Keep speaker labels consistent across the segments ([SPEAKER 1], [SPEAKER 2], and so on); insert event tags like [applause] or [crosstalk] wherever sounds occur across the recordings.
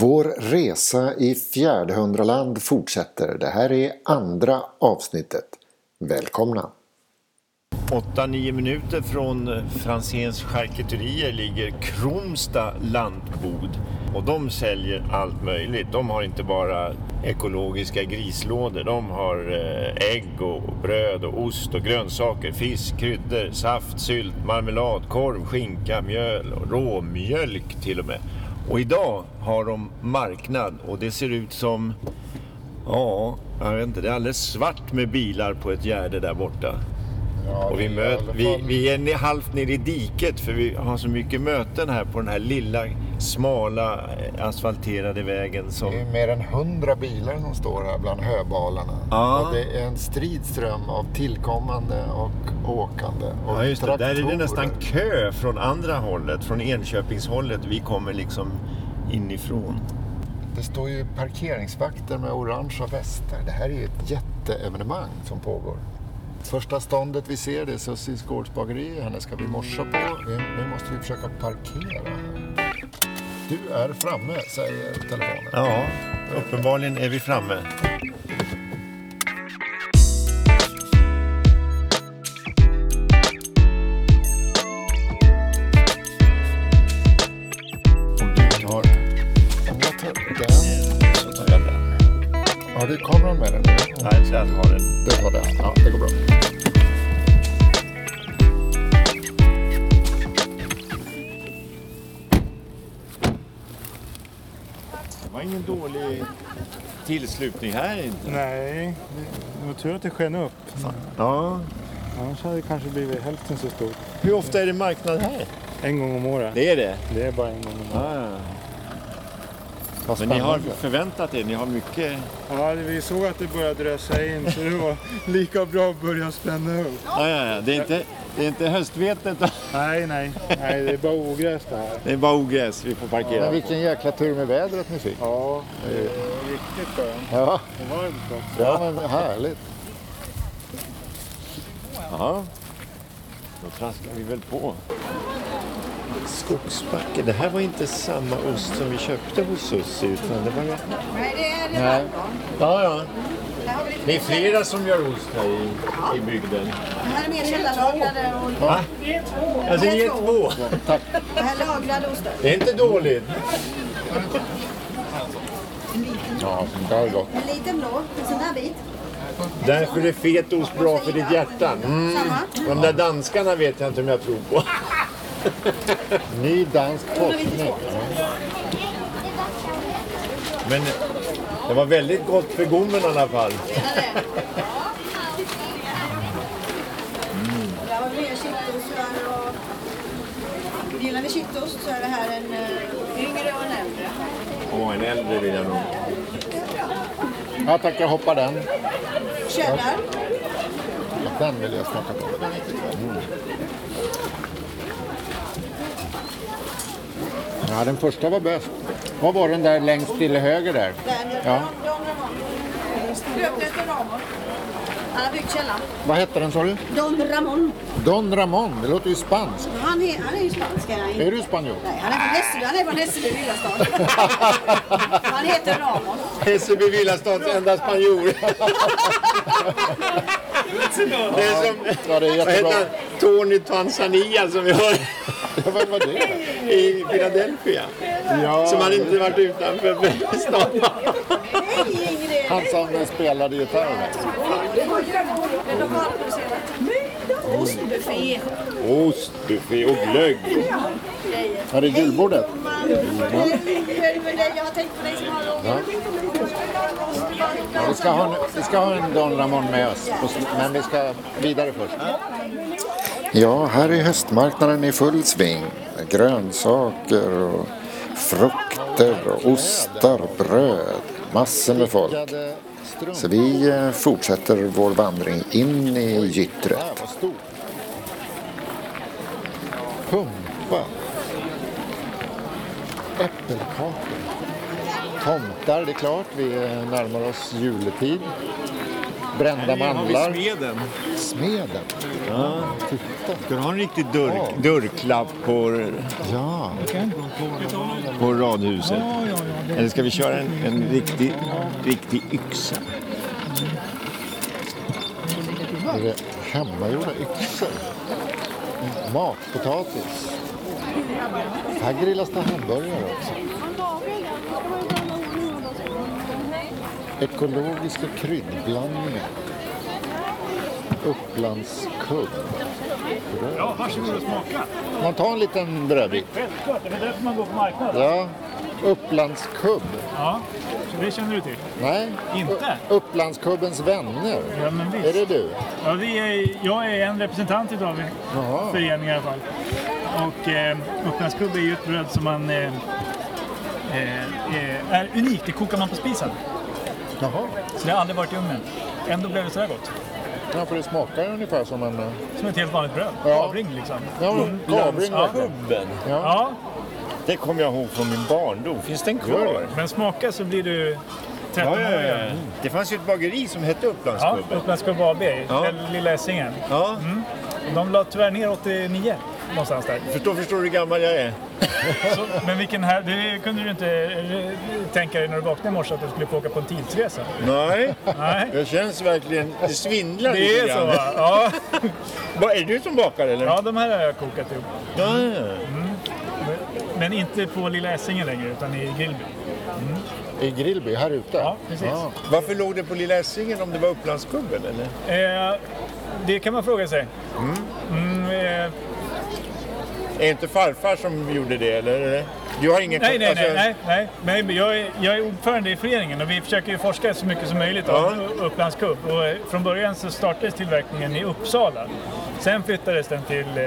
[SPEAKER 1] Vår resa i Fjärdehundraland fortsätter. Det här är andra avsnittet. Välkomna!
[SPEAKER 2] 8-9 minuter från Franzéns charkuterier ligger Kromsta lantbod. Och de säljer allt möjligt. De har inte bara ekologiska grislådor. De har eh, ägg och bröd och ost och grönsaker, fisk, kryddor, saft, sylt, marmelad, korv, skinka, mjöl och råmjölk till och med. Och idag har de marknad och det ser ut som, ja, jag vet inte, det är alldeles svart med bilar på ett gärde där borta.
[SPEAKER 3] Ja,
[SPEAKER 2] Och vi,
[SPEAKER 3] det är
[SPEAKER 2] möt,
[SPEAKER 3] i alla
[SPEAKER 2] vi,
[SPEAKER 3] fall-
[SPEAKER 2] vi är ne- halvt ner i diket för vi har så mycket möten här på den här lilla smala eh, asfalterade vägen som...
[SPEAKER 3] Det är mer än hundra bilar som står här bland höbalarna.
[SPEAKER 2] Ja.
[SPEAKER 3] Och det är en strid ström av tillkommande och åkande. Och
[SPEAKER 2] Ja just det, där är det
[SPEAKER 3] traktorer.
[SPEAKER 2] nästan kö från andra hållet, från Enköpingshållet. Vi kommer liksom inifrån.
[SPEAKER 3] Det står ju parkeringsvakter med orangea västar. Det här är ju ett jätteevenemang som pågår. Första ståndet vi ser det är Sussies gårdsbageri. Henne ska vi morsa på. Vi, nu måste vi försöka parkera. här. Du är framme, säger telefonen.
[SPEAKER 2] Ja, uppenbarligen är vi framme. Om du tar
[SPEAKER 3] Om jag tar den.
[SPEAKER 2] så tar jag den.
[SPEAKER 3] Har du kameran med dig nu?
[SPEAKER 2] Nej, den har den.
[SPEAKER 3] Du tar den. Ja, det går bra.
[SPEAKER 2] Det var ingen dålig tillslutning här inte.
[SPEAKER 4] Nej, det var tur att det sken upp.
[SPEAKER 2] Ja.
[SPEAKER 4] Annars hade det kanske blivit hälften så stort.
[SPEAKER 2] Hur ofta är det marknad här?
[SPEAKER 4] En gång om året.
[SPEAKER 2] Det är det.
[SPEAKER 4] Det är bara en gång om året.
[SPEAKER 2] Ja.
[SPEAKER 3] Vad
[SPEAKER 2] Men ni har
[SPEAKER 3] spännande.
[SPEAKER 2] förväntat er, ni har mycket...
[SPEAKER 4] Ja, vi såg att det började drösa in så det var lika bra att börja spänna upp.
[SPEAKER 2] Ja, ja, ja. Det, är inte, det är inte höstvetet,
[SPEAKER 4] Nej, nej, nej, det är bara ogräs det här.
[SPEAKER 2] [laughs] det är bara ogräs vi får parkera
[SPEAKER 3] Men
[SPEAKER 2] på.
[SPEAKER 3] vilken jäkla tur med vädret ni fick.
[SPEAKER 4] Ja, det är riktigt skönt.
[SPEAKER 3] Ja,
[SPEAKER 4] Och varmt också.
[SPEAKER 3] ja men härligt.
[SPEAKER 2] Ja. Då traskar vi väl på. Skogsbacke. Det här var inte samma ost som vi köpte hos Sussie utan det var ju...
[SPEAKER 5] Nej, det är det Nej.
[SPEAKER 2] Ja, ja.
[SPEAKER 5] Det har blivit
[SPEAKER 2] Det är flera som gör ost här i, i bygden.
[SPEAKER 5] Det här är mer hela lagrade och
[SPEAKER 2] Va? Alltså ni är två.
[SPEAKER 5] det här är lagrade ostar.
[SPEAKER 2] Det är inte dåligt.
[SPEAKER 3] Ja, sånt där är gott.
[SPEAKER 5] En liten blå, en sån här bit.
[SPEAKER 2] Därför är fet ost bra för ditt hjärta. Mm.
[SPEAKER 5] Samma.
[SPEAKER 2] De där danskarna vet jag inte om jag tror på.
[SPEAKER 3] Ny dansk forskning.
[SPEAKER 2] Men det var väldigt gott för gommen i alla fall.
[SPEAKER 5] Mm. Där har vi mer kittost här och... Gillar vi kittost så är det här en eh, yngre och en äldre.
[SPEAKER 2] Åh, en äldre vill jag nog.
[SPEAKER 3] Ja tack, jag hoppar den.
[SPEAKER 5] Cheddar.
[SPEAKER 3] Ja, Den vill jag Mm. smaka på. Ja, den första var bäst. Vad var den där längst till höger där?
[SPEAKER 5] Där.
[SPEAKER 3] Ja.
[SPEAKER 5] Don Ramon. Löpnäs Don Ramon. Han har byggt källan.
[SPEAKER 3] Vad hette den sa du?
[SPEAKER 5] Don Ramon.
[SPEAKER 3] Don Ramon, det låter ju spanskt.
[SPEAKER 5] Han är, han är ju spansk. är han inte?
[SPEAKER 3] Är du spanjor? [laughs]
[SPEAKER 5] Nej, han är från Hässelby. Han är från Hässelby lilla stad. Han heter Ramon.
[SPEAKER 2] Hässelby villastads enda [laughs] spanjor. Det är som
[SPEAKER 3] Ja, det är
[SPEAKER 2] vad
[SPEAKER 3] jättebra.
[SPEAKER 2] heter han? Tony Tanzania som vi har
[SPEAKER 3] Ja, vad var det?
[SPEAKER 2] i Philadelphia.
[SPEAKER 3] Ja,
[SPEAKER 2] Som han inte varit utanför stan.
[SPEAKER 5] Hej Ingrid!
[SPEAKER 3] han som spelade gitarr. där.
[SPEAKER 5] Det är lokalproducerat. Ostbuffé.
[SPEAKER 2] Ostbuffé och glögg.
[SPEAKER 3] Här är julbordet.
[SPEAKER 5] Jag har tänkt på dig så många gånger.
[SPEAKER 3] Vi ska, ha en, vi ska ha en Don Ramon med oss, på sl- men vi ska vidare först.
[SPEAKER 1] Ja, här är höstmarknaden i full sving. Grönsaker och frukter och ostar, bröd, massor med folk.
[SPEAKER 3] Stickade strumpor.
[SPEAKER 1] Så vi eh, fortsätter vår vandring in i gyttret.
[SPEAKER 3] Där, vad stort. Pumpa. Äppelkakor. Tomtar, det är klart. Vi eh, närmar oss juletid. Brända mandlar.
[SPEAKER 2] smeden.
[SPEAKER 3] Smeden.
[SPEAKER 2] Ska du ha en riktig dörr, dörrklapp på,
[SPEAKER 3] Ja.
[SPEAKER 2] på radhuset? Eller ska vi köra en, en riktig, riktig yxa?
[SPEAKER 3] Är det hemmagjorda yxor? Matpotatis? Här grillas det hamburgare också. Ekologiska kryddblandningar. Upplandskubb.
[SPEAKER 6] Ja, varsågod och smaka.
[SPEAKER 3] Man tar en liten brödbit.
[SPEAKER 6] Självklart, det är väl därför man går på marknaden.
[SPEAKER 3] Ja. Upplandskubb.
[SPEAKER 6] Ja, så det känner du till.
[SPEAKER 3] Nej.
[SPEAKER 6] Inte?
[SPEAKER 3] U- Upplandskubbens vänner.
[SPEAKER 6] Ja, men visst.
[SPEAKER 3] Är det du?
[SPEAKER 6] Ja, vi är, jag är en representant utav en
[SPEAKER 3] Jaha.
[SPEAKER 6] förening i alla fall. Och eh, Upplandskubb är ju ett bröd som man eh, eh, eh, är unikt. Det kokar man på spisen.
[SPEAKER 3] Jaha.
[SPEAKER 6] Så det har aldrig varit i ugnen. Ändå blev det sådär gott.
[SPEAKER 3] Ja, för det smakar ungefär som en... eh,
[SPEAKER 6] Som ett helt vanligt bröd.
[SPEAKER 3] Ja.
[SPEAKER 6] Avring liksom.
[SPEAKER 3] Ja, men kavring
[SPEAKER 6] Ja.
[SPEAKER 3] verkligen. Ja.
[SPEAKER 6] Ja,
[SPEAKER 2] Det kommer jag ihåg från min barndom. Finns den
[SPEAKER 3] Gör
[SPEAKER 2] kvar?
[SPEAKER 6] men smaka så blir du 13 år igen.
[SPEAKER 2] Mm. Det fanns ju ett bageri som hette
[SPEAKER 6] Ja,
[SPEAKER 2] Upplandskubben.
[SPEAKER 6] Upplandskubb AB,
[SPEAKER 2] Ja.
[SPEAKER 6] ja. Lilla Essingen.
[SPEAKER 2] Ja,
[SPEAKER 6] De la tyvärr ner 89 någonstans där.
[SPEAKER 2] förstår, förstår du hur gammal jag är.
[SPEAKER 6] Så, men vilken här, det kunde du inte eh, tänka dig när du vaknade i morse att du skulle få åka på en tidsresa.
[SPEAKER 2] Nej,
[SPEAKER 6] Nej,
[SPEAKER 2] jag känns verkligen... Det svindlar
[SPEAKER 6] det är
[SPEAKER 2] lite
[SPEAKER 6] så.
[SPEAKER 2] grann.
[SPEAKER 6] va? Ja.
[SPEAKER 2] Vad, Är det du som bakar eller?
[SPEAKER 6] ja, de här har jag kokat ihop.
[SPEAKER 2] Ja, ja.
[SPEAKER 6] Men inte på Lilla Essingen längre utan i Grillby.
[SPEAKER 3] I Grillby, här ute?
[SPEAKER 6] Ja, precis.
[SPEAKER 3] Ja.
[SPEAKER 2] Varför låg det på Lilla Essingen om det var Upplandskubben eller?
[SPEAKER 6] Eh, det kan man fråga sig. Mm, eh,
[SPEAKER 2] Är inte farfar som gjorde det eller? Du har ingen
[SPEAKER 6] Nej, nej,
[SPEAKER 2] alltså-
[SPEAKER 6] nej, nej, nej. nej men jag, är, jag är ordförande i föreningen och vi försöker ju forska så mycket som möjligt om Upplandskubb. Och eh, från början så startades tillverkningen i Uppsala. Sen flyttades den till eh,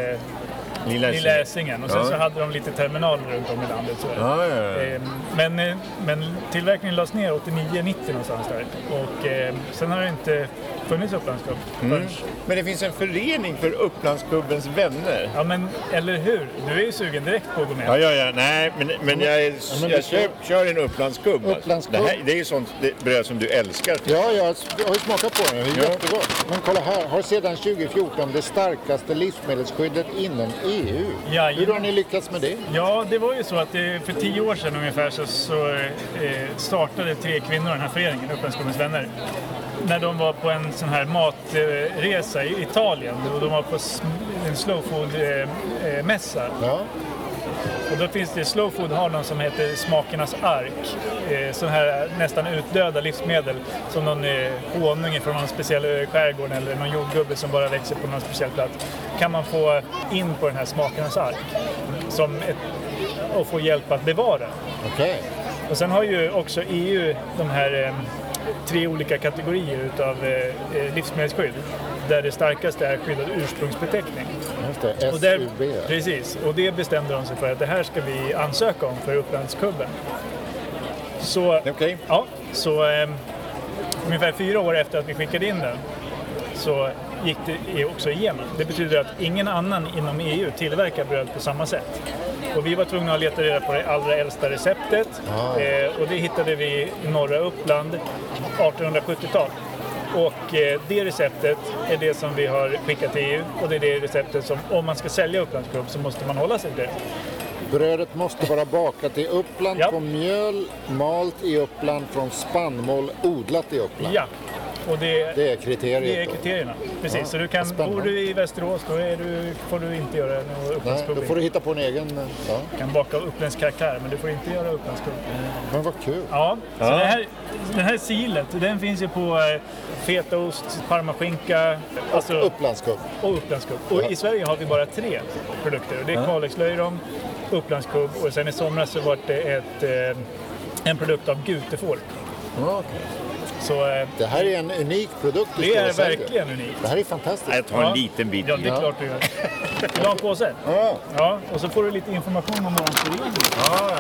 [SPEAKER 2] Lilla Essingen.
[SPEAKER 6] Lilla Essingen och sen
[SPEAKER 2] Ja.
[SPEAKER 6] så hade de lite terminaler runt om i landet. Så.
[SPEAKER 2] Ja, ja, ja.
[SPEAKER 6] Eh, Men, eh, men tillverkningen lades ner 89-90 någonstans där. Och eh, sen har det inte funnits Upplandskubb förrän
[SPEAKER 2] Men det finns en förening för Upplandskubbens vänner.
[SPEAKER 6] Ja men eller hur? Du är ju sugen direkt på att gå med.
[SPEAKER 2] Ja, ja, ja. Nej, men, men jag, är,
[SPEAKER 3] men det-
[SPEAKER 2] jag kör, kör en Upplandskubb. alltså.
[SPEAKER 3] Upplandskubb.
[SPEAKER 2] Det, här, det är ju sånt det- bröd som du älskar.
[SPEAKER 3] Ja, jag har ju smakat på den. Det är
[SPEAKER 2] Ja.
[SPEAKER 3] jättegott. Men kolla här, har sedan 2014 det starkaste livsmedelsskyddet inom EU.
[SPEAKER 6] Jajamän.
[SPEAKER 3] Hur har ni lyckats med det?
[SPEAKER 6] Ja, det var ju så att det, för tio år sedan ungefär så, så eh, startade tre kvinnor den här föreningen, Upplandskommuns vänner. När de var på en sån här matresa i Italien och de var på s- en slowfood-mässa.
[SPEAKER 3] Ja.
[SPEAKER 6] eh, Och då finns det, slowfood har någon som heter Smakernas ark. Eh, sån här nästan utdöda livsmedel som någon eh, honung från någon speciell eh, skärgård eller någon jordgubbe som bara växer på någon speciell plats. Kan man få in på den här Smakernas ark som ett, och få hjälp att bevara.
[SPEAKER 3] Okej.
[SPEAKER 6] Och sen har ju också EU de här eh, tre olika kategorier utav eh, eh, livsmedelsskydd. Där det starkaste är skyddad ursprungsbeteckning.
[SPEAKER 3] Just det.
[SPEAKER 6] Och där,
[SPEAKER 3] SUB.
[SPEAKER 6] precis, och det bestämde de sig för att det här ska vi ansöka om för Upplandskubben. Så,
[SPEAKER 2] Okej.
[SPEAKER 6] ja, så eh, ungefär fyra år efter att vi skickade in den så gick det också igenom. Det betyder att ingen annan inom EU tillverkar bröd på samma sätt. Och vi var tvungna att leta reda på det allra äldsta receptet eh, och det hittade vi i norra Uppland, 1870-tal. Och eh, det receptet är det som vi har skickat till EU och det är det receptet som om man ska sälja Upplandskubb så måste man hålla sig till det.
[SPEAKER 3] Brödet måste vara bakat i Uppland
[SPEAKER 6] Ja.
[SPEAKER 3] på mjöl, malt i Uppland från spannmål, odlat i Uppland.
[SPEAKER 6] Ja, och det,
[SPEAKER 3] Det är kriteriet.
[SPEAKER 6] det är
[SPEAKER 3] då.
[SPEAKER 6] kriterierna. Precis,
[SPEAKER 3] Ja,
[SPEAKER 6] så du kan,
[SPEAKER 3] spännande.
[SPEAKER 6] bor du i Västerås då är du, får du inte göra någon
[SPEAKER 3] Nej, då
[SPEAKER 6] Upplandskubb.
[SPEAKER 3] får du hitta på en egen. eh, Ja.
[SPEAKER 6] Du kan baka uppländsk karaktär men du får inte göra upplandskubb.
[SPEAKER 3] Men vad kul.
[SPEAKER 6] Ja, så Det här, den här silet den finns ju på eh, fetaost, parmaskinka alltså,
[SPEAKER 3] Upplandskubb.
[SPEAKER 6] och upplandskubb. Och i Sverige har vi bara tre produkter och det är Kalixlöjrom, upplandskubb och sen i somras så var det ett, eh, en produkt av gutefår. Så eh,
[SPEAKER 3] Det här är en unik produkt du
[SPEAKER 6] det
[SPEAKER 3] står
[SPEAKER 6] är
[SPEAKER 3] och säljer.
[SPEAKER 6] verkligen unikt.
[SPEAKER 3] Det här är fantastiskt.
[SPEAKER 2] Jag tar en
[SPEAKER 6] Ja.
[SPEAKER 2] liten bit.
[SPEAKER 6] Ja, det är klart du gör. Vill du ha en påse?
[SPEAKER 2] Ja.
[SPEAKER 6] Ja, och så får du lite information om vår förening.
[SPEAKER 2] Ja.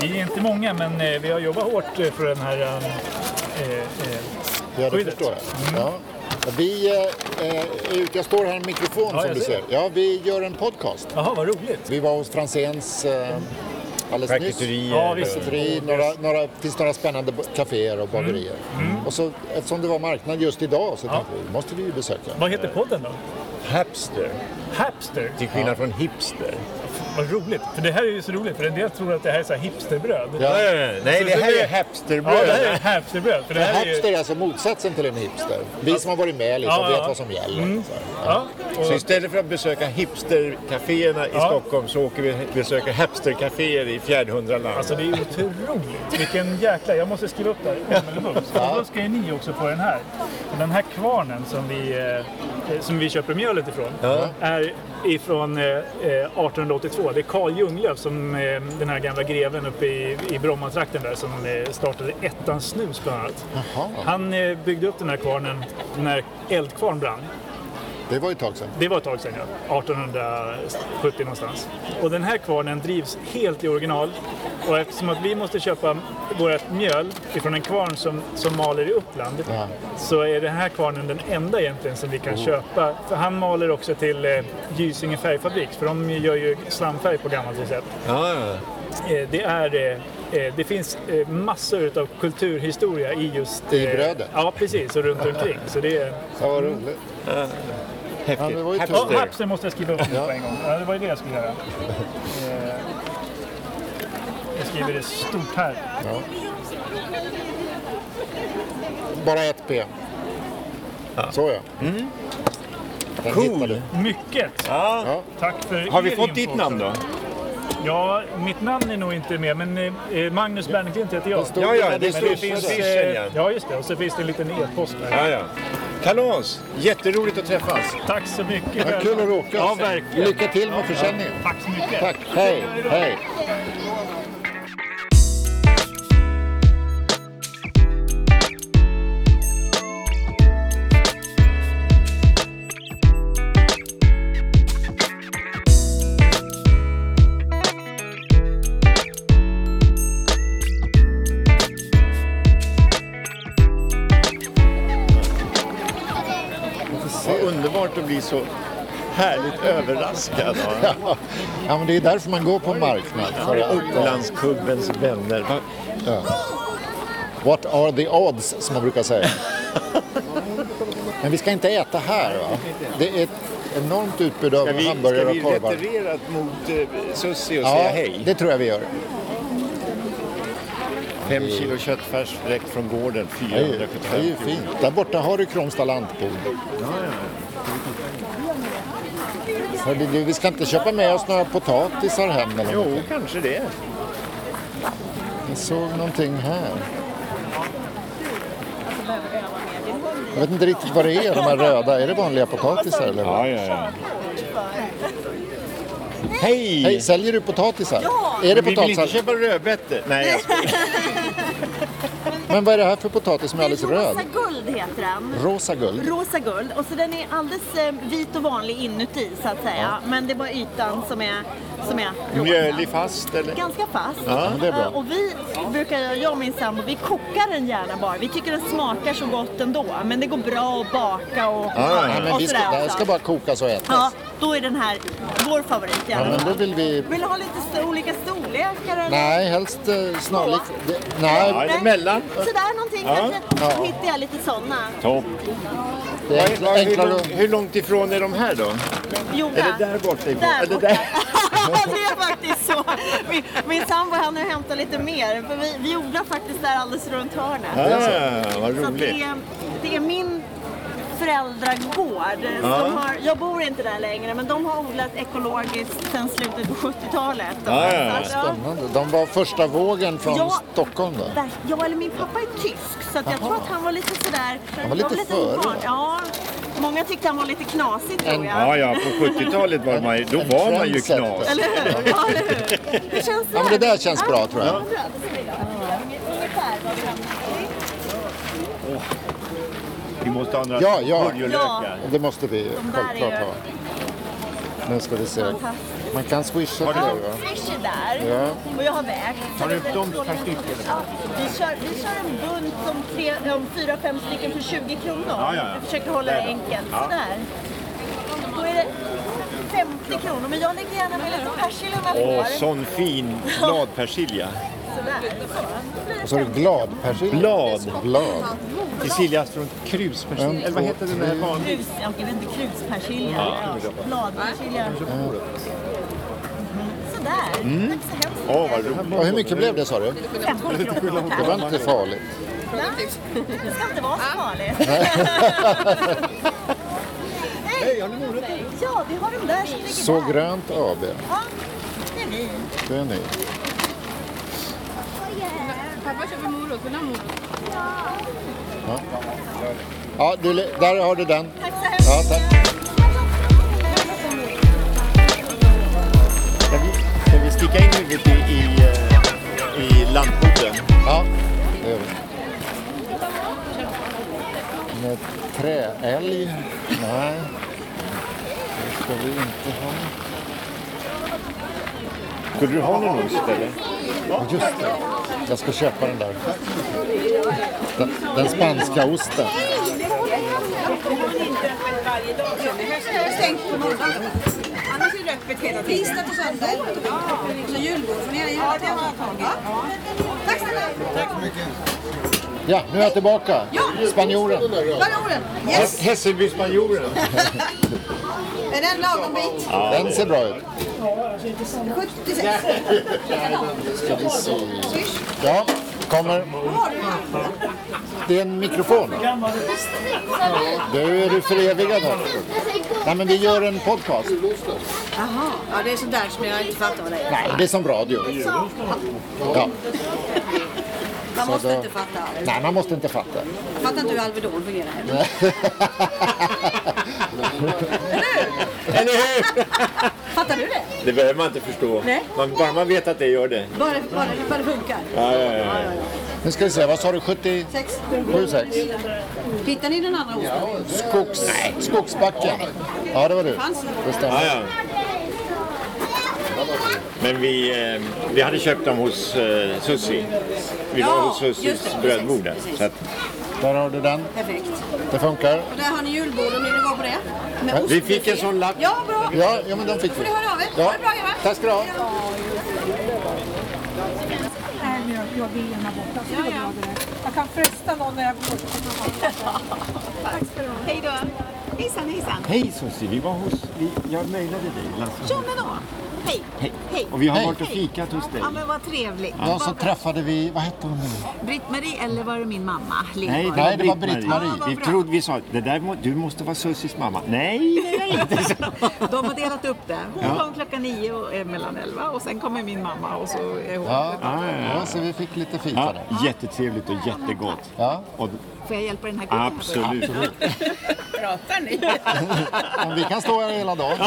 [SPEAKER 6] Vi är inte många, men eh, vi har jobbat hårt eh, för den här... eh, eh,
[SPEAKER 3] Ja, det
[SPEAKER 6] Skyddet. Mm.
[SPEAKER 3] förstår jag. Ja. Vi eh, eh, är ute, jag står här med mikrofon
[SPEAKER 6] Ja,
[SPEAKER 3] som
[SPEAKER 6] jag
[SPEAKER 3] du
[SPEAKER 6] ser.
[SPEAKER 3] ser. Ja, vi gör en podcast.
[SPEAKER 6] Jaha, vad roligt.
[SPEAKER 3] Vi var hos Franzéns eh, alldeles nyss.
[SPEAKER 2] Charkuterier.
[SPEAKER 6] Ja, visst.
[SPEAKER 3] Charkuteri, några, några, finns några spännande b- kaféer och
[SPEAKER 6] Mm.
[SPEAKER 3] bagerier. Och så, eftersom det var marknad just idag så tänkte vi, måste vi ju besöka.
[SPEAKER 6] Vad heter podden då?
[SPEAKER 2] Hapster.
[SPEAKER 6] Hapster?
[SPEAKER 2] Till skillnad från hipster.
[SPEAKER 6] Vad roligt! För det här är ju så roligt, för en del tror att det här är så här hipsterbröd. Ja,
[SPEAKER 3] Ja.
[SPEAKER 2] Nej, nej, det här är
[SPEAKER 6] det här
[SPEAKER 2] hapsterbröd.
[SPEAKER 6] är hipsterbröd. För det
[SPEAKER 3] En
[SPEAKER 6] här är ju...
[SPEAKER 3] hipster är alltså motsatsen till en hipster. Vi som har varit med liksom,
[SPEAKER 6] Ja, Mm. ja, ja.
[SPEAKER 3] vet vad som gäller. Så här.
[SPEAKER 6] Ja,
[SPEAKER 2] Så
[SPEAKER 6] och,
[SPEAKER 2] istället för att besöka hipstercaféerna i
[SPEAKER 6] Ja.
[SPEAKER 2] Stockholm så åker vi besöka hipstercaféer i Fjärdhundraland.
[SPEAKER 6] alltså det är otroligt! Vilken jäkla... Jag måste skriva upp det här. Omedelbums. Och då ska ju ni också få den här. Den här kvarnen som vi, eh, som vi köper mjölet ifrån är ifrån eh, eh, 1882. Det är Carl Ljunglöf, som, eh, den här gamla greven uppe i, i Brommatrakten där, som eh, startade Ettans snus bland annat. Han eh, byggde upp den här kvarnen när eldkvarn brann.
[SPEAKER 3] Det var ju ett tag sedan.
[SPEAKER 6] Det var ett tag sedan, ja. 1870 någonstans. Och den här kvarnen drivs helt i original. Och eftersom att vi måste köpa vårt mjöl ifrån en kvarn som, som maler i Uppland
[SPEAKER 3] Ja.
[SPEAKER 6] så är den här kvarnen den enda egentligen som vi kan köpa. För han maler också till eh, Gysinge färgfabrik, för de gör ju slamfärg på gammalt recept.
[SPEAKER 2] Ja,
[SPEAKER 6] Eh, det, är, eh, eh, det finns eh, massor av kulturhistoria i just... eh,
[SPEAKER 3] I brödet.
[SPEAKER 6] Ja, precis. Och runt omkring. Så det är...
[SPEAKER 3] Ja, vad roligt. Ja,
[SPEAKER 2] häftigt.
[SPEAKER 3] det var ju
[SPEAKER 6] Ja,
[SPEAKER 3] tur.
[SPEAKER 6] Hapsen måste jag skriva upp nu på en gång. Ja, det var ju det jag skulle göra. Eh, Jag skriver det stort här.
[SPEAKER 3] Bara ett P. Så ja. Den
[SPEAKER 2] Mm. Cool.
[SPEAKER 3] hittar du.
[SPEAKER 6] Mycket!
[SPEAKER 2] Ja.
[SPEAKER 6] Tack för
[SPEAKER 2] Har vi
[SPEAKER 6] er
[SPEAKER 2] fått
[SPEAKER 6] info
[SPEAKER 2] ditt namn då?
[SPEAKER 6] också. Ja, mitt namn är nog inte med, men eh, Magnus Bernklint heter jag.
[SPEAKER 3] stod-
[SPEAKER 2] Ja, ja,
[SPEAKER 3] Men
[SPEAKER 2] det
[SPEAKER 3] det
[SPEAKER 2] står
[SPEAKER 3] finns-
[SPEAKER 2] finns
[SPEAKER 6] Eh,
[SPEAKER 2] ja.
[SPEAKER 6] Ja, just det. Och så finns det en liten e-post där.
[SPEAKER 2] ja, ja. Kalas! Jätteroligt att träffas.
[SPEAKER 6] Tack så mycket.
[SPEAKER 3] Ja, kul att råka.
[SPEAKER 6] Ja, verkligen.
[SPEAKER 3] Lycka till med försäljningen.
[SPEAKER 6] Tack så mycket.
[SPEAKER 3] Tack. Hej. Hej.
[SPEAKER 2] Vad Alltså, underbart att bli så härligt överraskad av
[SPEAKER 3] Ja, men det är därför man går på en marknad. För att,
[SPEAKER 2] Upplandskubbens vänner. Va-
[SPEAKER 3] what are the odds, som man
[SPEAKER 2] [laughs]
[SPEAKER 3] brukar säga. Men vi ska inte äta här, va? Det är ett enormt utbud av
[SPEAKER 2] Ska vi, ska
[SPEAKER 3] hamburgare
[SPEAKER 2] vi
[SPEAKER 3] och korvar.
[SPEAKER 2] retirera mot eh, Sussie och säga
[SPEAKER 3] Ja,
[SPEAKER 2] hej?
[SPEAKER 3] det tror jag vi gör.
[SPEAKER 2] Fem kilo köttfärs direkt från gården,
[SPEAKER 3] Det är ju,
[SPEAKER 2] 475
[SPEAKER 3] det är ju
[SPEAKER 2] kronor.
[SPEAKER 3] fint. Där borta har du Kromsta lantbod. Hörde du, vi ska inte köpa med oss några potatisar hem eller något.
[SPEAKER 2] Jo, kanske det.
[SPEAKER 3] Jag såg någonting här. Jag vet inte riktigt vad det är, de här röda. Är det vanliga potatisar eller? vad?
[SPEAKER 2] ja, ja. Hej!
[SPEAKER 3] Hej, säljer du potatisar?
[SPEAKER 2] Vi
[SPEAKER 3] Är det
[SPEAKER 2] vill inte
[SPEAKER 3] potatisar?
[SPEAKER 2] köpa rödbetor. Nej, alltså, jag skojar.
[SPEAKER 3] Men vad är det här för potatis som är alldeles röd?
[SPEAKER 7] Rosa guld heter den.
[SPEAKER 3] Rosa guld.
[SPEAKER 7] Rosa guld. Och så den är alldeles eh, vit och vanlig inuti så att säga. Men det är bara ytan som är, som är rosa.
[SPEAKER 2] mjölig fast eller?
[SPEAKER 7] Ganska fast.
[SPEAKER 3] Ja, men det är bra.
[SPEAKER 7] Eh, Och vi brukar, jag och min sambo, vi kokar den gärna bara. Vi tycker den smakar så gott ändå. Men det går bra att baka och,
[SPEAKER 3] Ja, ja, men
[SPEAKER 7] och
[SPEAKER 3] vi ska,
[SPEAKER 7] sådär
[SPEAKER 3] det här
[SPEAKER 7] också.
[SPEAKER 3] ska bara kokas och
[SPEAKER 7] Ja,
[SPEAKER 3] ätas.
[SPEAKER 7] då är den här vår favorit i
[SPEAKER 3] Ja,
[SPEAKER 7] alla
[SPEAKER 3] men då
[SPEAKER 7] fall.
[SPEAKER 3] vill vi...
[SPEAKER 7] Vill du ha lite st- olika storlekar eller?
[SPEAKER 3] Nej, helst eh, snarlik... det- Nej,
[SPEAKER 2] Ja, mellan.
[SPEAKER 7] Sådär någonting kanske. Hittar jag lite sådana.
[SPEAKER 2] Topp.
[SPEAKER 3] det är enkla-
[SPEAKER 2] Hur,
[SPEAKER 3] enklare
[SPEAKER 2] lång,
[SPEAKER 3] att...
[SPEAKER 2] hur långt ifrån är de här då?
[SPEAKER 7] Yoga.
[SPEAKER 2] Är det där borta ifrån?
[SPEAKER 7] Där
[SPEAKER 2] Eller
[SPEAKER 7] borta.
[SPEAKER 2] där?
[SPEAKER 7] [laughs] det är faktiskt så. Min, min sambo han har hämtat lite mer. För vi, vi odlar faktiskt där alldeles runt hörnet.
[SPEAKER 2] Ah, vad
[SPEAKER 7] Så att Alltså, det,
[SPEAKER 2] roligt.
[SPEAKER 7] är, det är min föräldragård. Som har, jag bor inte där längre men de har odlat ekologiskt sedan slutet på 70-talet.
[SPEAKER 2] Ja, ja, ja.
[SPEAKER 7] Så att, ja.
[SPEAKER 3] Spännande. De var första vågen från
[SPEAKER 7] Ja.
[SPEAKER 3] Stockholm då.
[SPEAKER 7] Där- Ja, eller min pappa är tysk så att jag
[SPEAKER 3] Jaha.
[SPEAKER 7] tror att han var lite sådär...
[SPEAKER 3] Han var lite före, va?
[SPEAKER 7] Ja, många tyckte han var lite knasig tror jag.
[SPEAKER 2] Ja, ja, på 70-talet var man ju, då var man ju knas.
[SPEAKER 7] Eller hur? Ja, eller hur? Hur känns det?
[SPEAKER 3] Ja, men det där känns
[SPEAKER 7] här?
[SPEAKER 3] bra, tror jag.
[SPEAKER 7] Ja, bra. Ungefär vad vi hamnar i.
[SPEAKER 2] Vi måste ha några
[SPEAKER 3] Ja, ja.
[SPEAKER 2] purjolökar.
[SPEAKER 3] Det måste vi
[SPEAKER 7] De där
[SPEAKER 3] självklart
[SPEAKER 7] är ju-
[SPEAKER 3] ha. Nu ska vi se.
[SPEAKER 7] Fantastiskt.
[SPEAKER 3] Man kan swisha till det
[SPEAKER 7] Ja,
[SPEAKER 3] va?
[SPEAKER 7] Swish är där
[SPEAKER 3] Ja.
[SPEAKER 7] och jag har vägt.
[SPEAKER 2] Tar du upp dem per styck, eller?
[SPEAKER 7] Ja, vi, kör, vi kör en bunt om, tre, om fyra, fem stycken för 20 kronor.
[SPEAKER 2] Ja, ja, ja.
[SPEAKER 7] Jag försöker hålla det enkelt. Sådär. Då är det 50 kronor, men jag lägger gärna med lite persilja om jag får.
[SPEAKER 2] Åh, sån fin bladpersilja.
[SPEAKER 7] Sådär.
[SPEAKER 3] Och så är det gladpersilja.
[SPEAKER 2] Blad.
[SPEAKER 3] Blad.
[SPEAKER 2] Persilja från kruspersilja. Eller vad heter den här vanliga?
[SPEAKER 7] Krus,
[SPEAKER 2] Mm.
[SPEAKER 7] jag vet inte, kruspersilja. Bladpersilja. där. Tack så hemskt mycket.
[SPEAKER 2] Åh, vad roligt.
[SPEAKER 3] Ja, hur mycket blev det sa du?
[SPEAKER 7] 15 kronor
[SPEAKER 3] Det
[SPEAKER 7] tack.
[SPEAKER 3] var inte farligt.
[SPEAKER 7] Det ska inte vara så farligt.
[SPEAKER 2] Hej, har ni morötter?
[SPEAKER 7] Ja, vi har de där som ligger
[SPEAKER 3] Så
[SPEAKER 7] där.
[SPEAKER 3] grönt AB,
[SPEAKER 7] Ja, det är vi.
[SPEAKER 3] det är ni.
[SPEAKER 1] Pappa köper morot, vill du ha morot?
[SPEAKER 3] Ja, du, le- där har du den.
[SPEAKER 7] Tack så hemskt
[SPEAKER 3] Ja, tack.
[SPEAKER 2] Ska vi, ska vi sticka in huvudet i, i, eh, i lampboden?
[SPEAKER 3] Ja, det gör vi. Med träälg? Nej, det ska vi inte ha.
[SPEAKER 2] Skulle du ha någon ost eller?
[SPEAKER 3] Ja, just det. Jag ska köpa den där. Den, den spanska osten.
[SPEAKER 5] Jag har stängt på morgonen. Annars är det öppet hela tiden. Tisdag till söndag. Så julbord. Men jag gillar att jag har tagit. Ja. Tack snälla. Tack.
[SPEAKER 3] Ja, nu är jag tillbaka. Spanjoren.
[SPEAKER 5] Ballongen. Yes.
[SPEAKER 2] Hässelbyspanjoren.
[SPEAKER 5] Är den lagom bit?
[SPEAKER 3] Den ser bra ut.
[SPEAKER 5] 76.
[SPEAKER 3] Ska vi se.
[SPEAKER 5] Swish.
[SPEAKER 3] Ja, kommer.
[SPEAKER 5] Vad har du i handen?
[SPEAKER 3] Det är en mikrofon. Du är du förevigad här. Nej, men vi gör en podcast.
[SPEAKER 5] Jaha. Ja, det är sådär som jag inte fattar vad det är.
[SPEAKER 3] Nej, det är som radio. Ja.
[SPEAKER 5] Man måste
[SPEAKER 3] då-
[SPEAKER 5] inte fatta allt.
[SPEAKER 3] Nej, man måste inte fatta.
[SPEAKER 5] Jag fattar inte hur Alvedon fungerar heller.
[SPEAKER 2] Eller hur?
[SPEAKER 5] Fattar du det?
[SPEAKER 2] Det behöver man inte förstå.
[SPEAKER 5] Nej.
[SPEAKER 2] Man, bara man vet att det gör det.
[SPEAKER 5] Bara, bara, bara det funkar.
[SPEAKER 2] Ja, ja, ja.
[SPEAKER 3] Nu ska vi se, vad sa du? 70?
[SPEAKER 5] Sex.
[SPEAKER 3] 76.
[SPEAKER 5] Hittar ni den andra osten?
[SPEAKER 3] Skogs, skogsbacken. Ja, det var du.
[SPEAKER 5] Fanns det?
[SPEAKER 3] Det
[SPEAKER 2] ja,
[SPEAKER 3] stämmer.
[SPEAKER 2] ja. Men vi, eh, vi hade köpt dem hos eh, Sussi. Vi var
[SPEAKER 5] Ja,
[SPEAKER 2] hos
[SPEAKER 5] just
[SPEAKER 2] Sussis
[SPEAKER 5] det,
[SPEAKER 2] brödbord där.
[SPEAKER 5] precis, precis.
[SPEAKER 2] Så att
[SPEAKER 3] Där har du den.
[SPEAKER 5] Perfekt.
[SPEAKER 3] Det funkar.
[SPEAKER 5] Och där har ni julbord om ni vill gå på det. Med
[SPEAKER 2] vi
[SPEAKER 5] ostbuffé.
[SPEAKER 2] fick en sån lapp.
[SPEAKER 5] Ja, bra.
[SPEAKER 3] Ja, ja men den fick vi.
[SPEAKER 5] Får ni höra av er?
[SPEAKER 3] Ja.
[SPEAKER 5] Ha det bra, grabbar.
[SPEAKER 3] Tack ska du ha.
[SPEAKER 1] Jag kan fresta någon när jag går.
[SPEAKER 7] Hej då. Hejsan, hejsan.
[SPEAKER 2] Hej Sussi, vi var hos... Vi, jag mejlade dig Lasse.
[SPEAKER 7] Ja, men då. Hej. Hej.
[SPEAKER 2] Och vi har
[SPEAKER 3] Hej.
[SPEAKER 2] varit och fikat hos dig.
[SPEAKER 7] Ja, men vad trevligt.
[SPEAKER 3] Ja, så träffade vi, vad hette hon nu?
[SPEAKER 7] Britt-Marie, eller var det min mamma?
[SPEAKER 2] Nej,
[SPEAKER 7] Lindborg?
[SPEAKER 2] det var
[SPEAKER 3] Nej, det var
[SPEAKER 2] Britt-Marie.
[SPEAKER 3] Britt-Marie.
[SPEAKER 7] Ja, vad
[SPEAKER 2] vi
[SPEAKER 7] bra.
[SPEAKER 2] trodde vi sa det där må, du måste vara Sussis mamma. Nej, det är jag inte.
[SPEAKER 7] De har delat upp det. Hon kom klockan nio och är mellan elva och sen kommer min mamma och så är hon...
[SPEAKER 3] Ja.
[SPEAKER 2] ja, ja.
[SPEAKER 3] ja, så vi fick lite fika
[SPEAKER 2] Ja,
[SPEAKER 3] där.
[SPEAKER 2] jättetrevligt och jättegott.
[SPEAKER 3] Ja,
[SPEAKER 2] Och,
[SPEAKER 7] Får jag hjälpa den här gubben?
[SPEAKER 2] absolut.
[SPEAKER 1] Pratar ni?
[SPEAKER 3] men vi kan stå här hela dagen.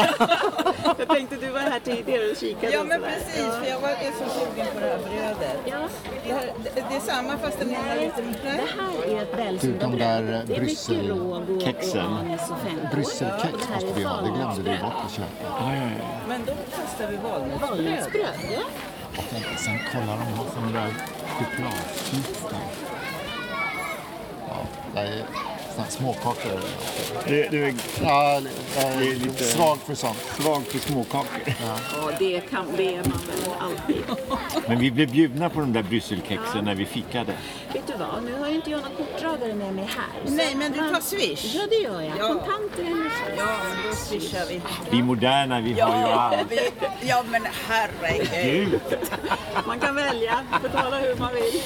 [SPEAKER 7] Jag tänkte du var här tidigare och kikade
[SPEAKER 1] Ja
[SPEAKER 7] och
[SPEAKER 1] men
[SPEAKER 7] sådär.
[SPEAKER 1] precis, för jag var är så sugen på det här brödet.
[SPEAKER 7] Ja.
[SPEAKER 1] Det, här, det, det är samma fast den är lite...
[SPEAKER 7] Det
[SPEAKER 1] Nej.
[SPEAKER 7] här är ett
[SPEAKER 3] Du, de
[SPEAKER 7] välsmort
[SPEAKER 3] där
[SPEAKER 7] bröd. Det är
[SPEAKER 3] Bryssel-
[SPEAKER 7] mycket råg och,
[SPEAKER 2] kexen.
[SPEAKER 7] och anis och fänkål.
[SPEAKER 3] Brysselkex måste
[SPEAKER 7] här är
[SPEAKER 3] vi ha, det glömde vi
[SPEAKER 7] valnötsbröd.
[SPEAKER 3] bort att köpa.
[SPEAKER 1] Men då kastar vi valnötsbröd.
[SPEAKER 7] Valnötsbröd, ja.
[SPEAKER 3] Tänk, Sen kollar de på sådana där chokladknuttar. Ja, det är såna här småkakor.
[SPEAKER 2] Du, du är
[SPEAKER 3] Ja, jag
[SPEAKER 2] Det
[SPEAKER 3] är
[SPEAKER 2] är lite-
[SPEAKER 3] svag för sånt.
[SPEAKER 2] svag för småkakor.
[SPEAKER 7] Ja, det, kan, det är man väl alltid.
[SPEAKER 2] Men vi blev bjudna på de där brysselkexen när vi fikade.
[SPEAKER 7] Vet du vad, nu har ju inte jag någon kortdragare med mig här. så
[SPEAKER 1] Nej men du
[SPEAKER 7] man-
[SPEAKER 1] tar swish.
[SPEAKER 7] Ja, det gör jag.
[SPEAKER 1] Ja.
[SPEAKER 7] Kontanter eller så.
[SPEAKER 1] Ja, men då swishar vi.
[SPEAKER 2] Vi är moderna, vi har ju allt.
[SPEAKER 1] vi- ja men herregud.
[SPEAKER 2] Gud.
[SPEAKER 7] Man kan välja, betala hur man vill.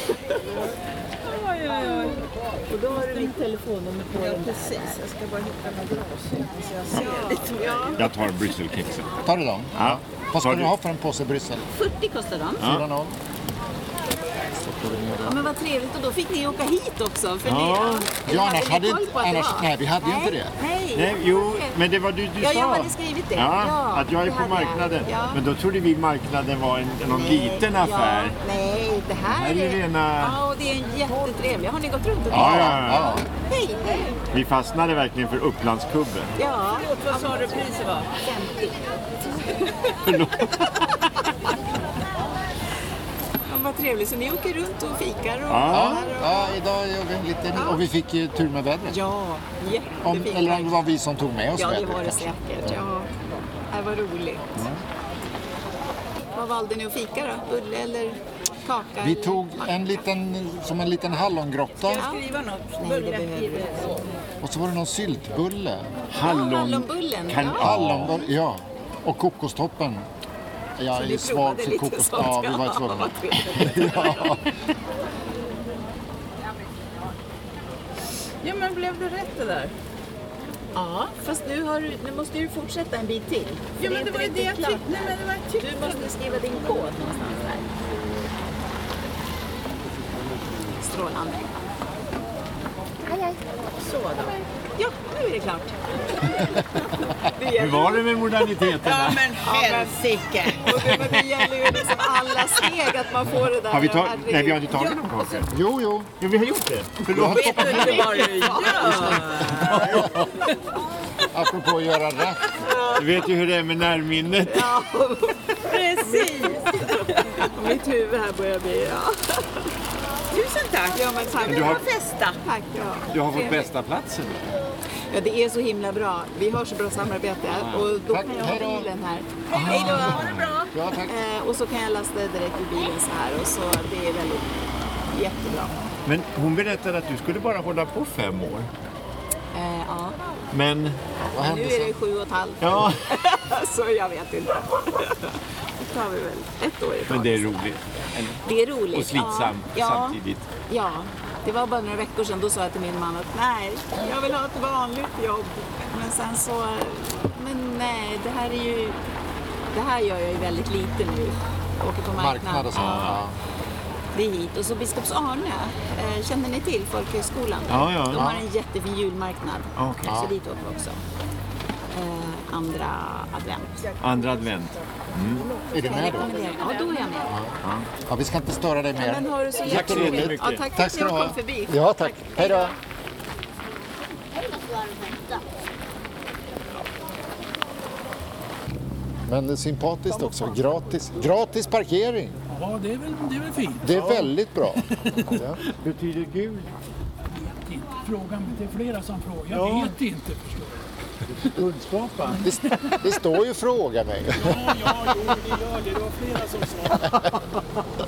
[SPEAKER 7] Och då har du mitt telefonnummer på den.
[SPEAKER 1] Precis, jag ska bara hitta några glasögon så jag ser lite.
[SPEAKER 7] Ja,
[SPEAKER 2] Jag tar brysselkexen.
[SPEAKER 3] Tar du dem?
[SPEAKER 2] Ja.
[SPEAKER 3] Vad ska
[SPEAKER 2] Tar
[SPEAKER 3] du
[SPEAKER 2] du-
[SPEAKER 3] ha för en påse Bryssel?
[SPEAKER 7] 40 kostar de.
[SPEAKER 3] 4-0.
[SPEAKER 7] Ja, men vad trevligt. Och då fick ni åka hit också. För ni,
[SPEAKER 2] Ja.
[SPEAKER 7] eller
[SPEAKER 3] Ja, annars
[SPEAKER 7] ni
[SPEAKER 3] hade
[SPEAKER 7] koll
[SPEAKER 3] inte-
[SPEAKER 7] på att det
[SPEAKER 3] annars-
[SPEAKER 7] var?
[SPEAKER 3] nej, vi hade ju inte det.
[SPEAKER 7] Nej,
[SPEAKER 2] Nej, jo,
[SPEAKER 7] okej.
[SPEAKER 2] men det var du, du
[SPEAKER 7] Ja,
[SPEAKER 2] sa.
[SPEAKER 7] jag hade skrivit det.
[SPEAKER 2] Ja,
[SPEAKER 7] Ja,
[SPEAKER 2] att jag är
[SPEAKER 7] det
[SPEAKER 2] på
[SPEAKER 7] hade jag.
[SPEAKER 2] marknaden.
[SPEAKER 7] Ja.
[SPEAKER 2] Men då trodde vi marknaden var en, någon liten
[SPEAKER 7] Ja,
[SPEAKER 2] affär.
[SPEAKER 7] nej, det här,
[SPEAKER 2] Det här är ju rena-
[SPEAKER 7] Ja, och det är en jättetrevlig. Har ni gått runt och
[SPEAKER 2] Ja,
[SPEAKER 7] tittat?
[SPEAKER 2] ja, ja.
[SPEAKER 7] Hej, hej.
[SPEAKER 2] Vi fastnade verkligen för Upplandskubben.
[SPEAKER 7] Ja,
[SPEAKER 1] Vad sa du priset var?
[SPEAKER 7] 50. ja, vad trevligt. Så ni åker runt och fikar och...
[SPEAKER 2] Ja.
[SPEAKER 3] Ja, idag gör vi en liten... Och vi fick ju tur med vädret.
[SPEAKER 7] Ja,
[SPEAKER 3] Om,
[SPEAKER 7] jättefint.
[SPEAKER 3] eller om det var vi som tog med oss
[SPEAKER 7] Ja, det
[SPEAKER 3] vädret.
[SPEAKER 7] var det
[SPEAKER 3] kanske.
[SPEAKER 7] säkert. Ja. Det var roligt. Vad valde ni att fika då? Bulle eller kaka?
[SPEAKER 3] Vi
[SPEAKER 7] eller
[SPEAKER 3] tog
[SPEAKER 7] macka?
[SPEAKER 3] en liten, som en liten hallongrotta
[SPEAKER 1] Skriva något.
[SPEAKER 7] Nej, det behöver vi inte.
[SPEAKER 3] och så var det någon syltbulle.
[SPEAKER 2] Hallon...
[SPEAKER 7] hallonbullen,
[SPEAKER 2] Kan...
[SPEAKER 7] ja.
[SPEAKER 2] Hallon...
[SPEAKER 3] Hallonbulle, ja. Och kokostoppen. Jag är
[SPEAKER 8] vi
[SPEAKER 3] svag
[SPEAKER 8] provade
[SPEAKER 3] för
[SPEAKER 8] lite
[SPEAKER 3] kokos.
[SPEAKER 8] sånt.
[SPEAKER 3] Ja, vi var tvungna. ja.
[SPEAKER 8] Ja, men blev det rätt det där?
[SPEAKER 7] Ja, fast nu, har du, nu måste du fortsätta en bit till. För
[SPEAKER 8] Ja, men
[SPEAKER 7] är
[SPEAKER 8] det var ju
[SPEAKER 7] inte
[SPEAKER 8] det jag
[SPEAKER 7] riktigt klart.
[SPEAKER 8] tyckte. Nej, men det var jag tyckte.
[SPEAKER 7] Du måste skriva din kod någonstans där. Strålande. Så då. Ja, nu är det klart.
[SPEAKER 2] Hur var det med moderniteterna?
[SPEAKER 8] Ja, men helsike!
[SPEAKER 7] [laughs] Och det, det gäller ju liksom alla steg att man får det där.
[SPEAKER 2] Har vi tagit? Nej, vi har inte tagit någon kaka.
[SPEAKER 3] Jo, jo.
[SPEAKER 2] Jo, vi har gjort det. Förlåt.
[SPEAKER 8] Vet du inte vad du gör?
[SPEAKER 3] Apropå att göra rätt.
[SPEAKER 2] Du vet ju hur det är med närminnet.
[SPEAKER 7] Precis! Och [laughs] Mitt huvud här börjar bli... Ja.
[SPEAKER 8] Tusen tack!
[SPEAKER 7] Ja, men tack.
[SPEAKER 2] du har-
[SPEAKER 8] Festa!
[SPEAKER 7] Tack, ja.
[SPEAKER 2] Du har fått bästa platsen.
[SPEAKER 7] ja, det är så himla bra. Vi har så bra samarbete och då
[SPEAKER 3] Tack,
[SPEAKER 7] kan jag
[SPEAKER 3] hej då.
[SPEAKER 7] ha bilen här. Hej då! Ha det bra!
[SPEAKER 3] Ja, tack.
[SPEAKER 7] Eh, och så kan jag lasta det direkt i bilen så här och så det är väldigt jättebra.
[SPEAKER 2] Men hon berättade att du skulle bara hålla på fem år.
[SPEAKER 7] Eh, ja.
[SPEAKER 2] Men...
[SPEAKER 3] Vad
[SPEAKER 7] Nu
[SPEAKER 3] hände
[SPEAKER 7] är
[SPEAKER 3] sen?
[SPEAKER 7] det sju och ett halvt
[SPEAKER 2] Ja,
[SPEAKER 7] så jag vet inte. [laughs] Då tar vi väl ett år i
[SPEAKER 2] men
[SPEAKER 7] taget.
[SPEAKER 2] det är roligt.
[SPEAKER 7] Det är roligt.
[SPEAKER 2] Och slitsamt
[SPEAKER 7] ja.
[SPEAKER 2] samtidigt.
[SPEAKER 7] Ja. ja, det var bara några veckor sedan. Då sa jag till min man att nej, jag vill ha ett vanligt jobb. Men sen så, men nej, det här är ju, det här gör jag ju väldigt lite nu. Åker på marknad.
[SPEAKER 3] Marknad och sånt. Ja.
[SPEAKER 7] Det är hit. Och så Biskops Arne, eh, känner ni till folkhögskolan? där?
[SPEAKER 2] Ja, ja,
[SPEAKER 7] De
[SPEAKER 2] ja.
[SPEAKER 7] har en jättefin julmarknad.
[SPEAKER 2] Ja, okej.
[SPEAKER 7] Så dit åker vi också. Eh, andra advent.
[SPEAKER 2] Andra advent.
[SPEAKER 3] Är du
[SPEAKER 7] Jag
[SPEAKER 3] med då?
[SPEAKER 7] rekommenderar. Ja, då är jag med.
[SPEAKER 3] Ja, vi ska inte störa dig
[SPEAKER 7] Men
[SPEAKER 3] mer.
[SPEAKER 7] har du så
[SPEAKER 2] Tack så
[SPEAKER 7] jätteroligt.
[SPEAKER 2] jättemycket.
[SPEAKER 7] Ja, tack för
[SPEAKER 3] Tack
[SPEAKER 7] att
[SPEAKER 3] ska
[SPEAKER 7] jag
[SPEAKER 3] du
[SPEAKER 7] kom
[SPEAKER 3] ha.
[SPEAKER 7] förbi.
[SPEAKER 3] Ja, tack. Hej då. Men det är sympatiskt också. Gratis, gratis parkering.
[SPEAKER 9] Ja, det är väl, det är väl fint.
[SPEAKER 3] Det är väldigt bra.
[SPEAKER 2] Betyder gul?
[SPEAKER 9] Det är inte Frågan, men det är flera som frågar. Jag
[SPEAKER 2] Ja.
[SPEAKER 9] vet inte förstår du.
[SPEAKER 2] Guldskapa?
[SPEAKER 3] Det, det står ju fråga mig.
[SPEAKER 9] Ja, ja, jo, det gör det. Det var flera som sa.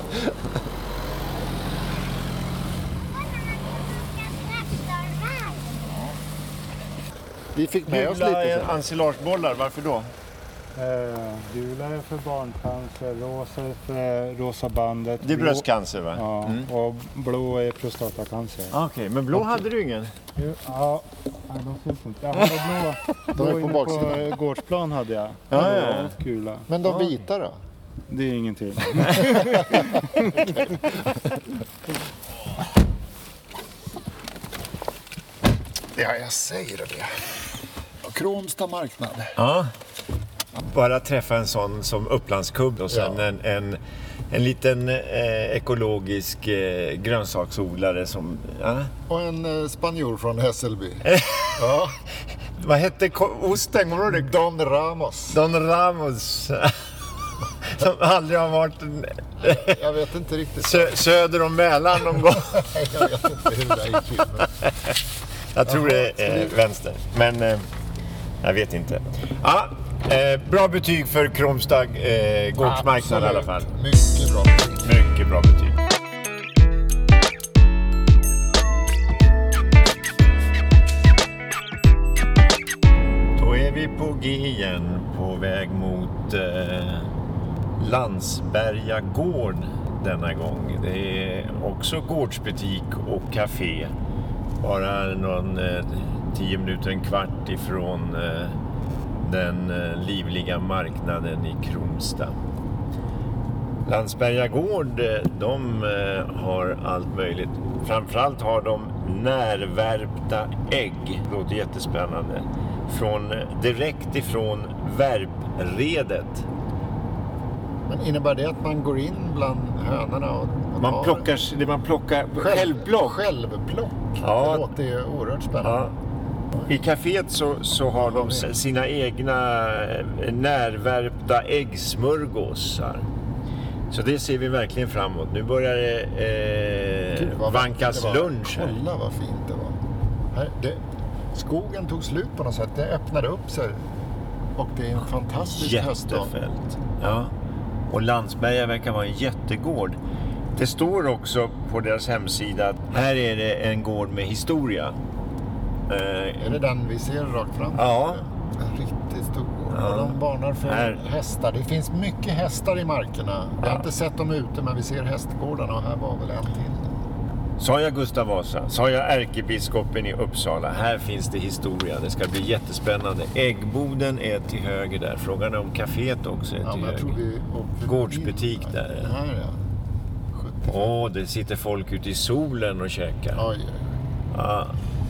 [SPEAKER 3] Vi fick med oss
[SPEAKER 2] Gula
[SPEAKER 3] lite.
[SPEAKER 2] är
[SPEAKER 3] så.
[SPEAKER 2] ensilagebollar, varför då?
[SPEAKER 4] Eh, gula är för barncancer, rosa är för rosa bandet.
[SPEAKER 2] Det är
[SPEAKER 4] blå-
[SPEAKER 2] bröstcancer Mm. va?
[SPEAKER 4] Ja, och blå är prostatacancer.
[SPEAKER 2] Ah, Okej, men blå hade du ingen?
[SPEAKER 4] Jo, Ja, nej, de syns inte. Jag hade blå,
[SPEAKER 3] De är
[SPEAKER 4] blå
[SPEAKER 3] på
[SPEAKER 4] inne
[SPEAKER 3] baksidan.
[SPEAKER 4] eh, gårdsplan hade jag.
[SPEAKER 2] Ja, ja, ja.
[SPEAKER 4] ja. Och gula.
[SPEAKER 3] Men de vita då?
[SPEAKER 4] Det är ingenting.
[SPEAKER 3] Ja, jag säger det. Kromsta marknad.
[SPEAKER 2] Ja. Bara träffa en sån som Upplandskubb och sen
[SPEAKER 3] Ja.
[SPEAKER 2] en, en, en liten eh, ekologisk eh, grönsaksodlare som... Ja.
[SPEAKER 3] Och en eh, spanjor från Hässelby.
[SPEAKER 2] ja. Vad hette ko- osten? Kommer du ihåg det?
[SPEAKER 3] Don Ramos.
[SPEAKER 2] Don Ramos. [laughs] som aldrig har varit en,
[SPEAKER 3] Jag vet inte riktigt.
[SPEAKER 2] sö, söder om Mälaren någon gång.
[SPEAKER 3] [laughs] Jag vet inte hur det där gick till. men-
[SPEAKER 2] Jag tror det är eh, vänster. Men eh, jag vet inte. Ja, eh, bra betyg för Kromstad eh, gårdsmarknad i alla fall.
[SPEAKER 3] Absolut. Mycket bra.
[SPEAKER 2] Mycket bra betyg. Då är vi på G igen, på väg mot eh, Landsberga gård denna gång. Det är också gårdsbutik och café. Bara någon eh, tio minuter, en kvart ifrån eh, den eh, livliga marknaden i Kronstad. Landsberga Gård, eh, de eh, har allt möjligt. Framförallt har de närvärpta ägg. Det låter jättespännande. Från, eh, direkt ifrån värpredet.
[SPEAKER 3] Men innebär det att man går in bland hönorna? Och och
[SPEAKER 2] Man
[SPEAKER 3] tar-
[SPEAKER 2] plockar, det man plockar
[SPEAKER 3] Självplock. Självplock.
[SPEAKER 2] Ja.
[SPEAKER 3] Det låter ju oerhört
[SPEAKER 2] Ja.
[SPEAKER 3] spännande.
[SPEAKER 2] I kaféet så, så har de s- sina egna eh, närvärpta äggsmörgåsar. Så det ser vi verkligen fram emot. Nu börjar det
[SPEAKER 3] Gud,
[SPEAKER 2] eh,
[SPEAKER 3] vad
[SPEAKER 2] vankas
[SPEAKER 3] vackert det var.
[SPEAKER 2] lunch här.
[SPEAKER 3] Kolla vad fint det var. Här, det, skogen tog slut på något sätt. Det öppnade upp sig. Och det är en fantastisk höstdag.
[SPEAKER 2] Jättefält. Ja. Och Landsberga verkar vara en jättegård. Det står också på deras hemsida att här är det en gård med historia. Eh,
[SPEAKER 3] Är det den vi ser rakt fram?
[SPEAKER 2] Ja.
[SPEAKER 3] En riktigt stor gård. och de varnar för
[SPEAKER 2] Här.
[SPEAKER 3] hästar. Det finns mycket hästar i markerna. Jag har inte sett dem ute men vi ser hästgårdarna och här var väl en till.
[SPEAKER 2] Sa jag Gustav Vasa? Sa jag ärkebiskopen i Uppsala? Här finns det historia. Det ska bli jättespännande. Äggboden är till höger där. Frågan är om kaféet också är
[SPEAKER 3] Ja,
[SPEAKER 2] till
[SPEAKER 3] men
[SPEAKER 2] höger.
[SPEAKER 3] jag tror vi åker förbi
[SPEAKER 2] Gårdsbutik
[SPEAKER 3] den
[SPEAKER 2] där, ja.
[SPEAKER 3] Den här ja. 70.
[SPEAKER 2] Åh, det sitter folk ute i solen och käkar.
[SPEAKER 3] Oj, oj, oj.
[SPEAKER 2] Ah,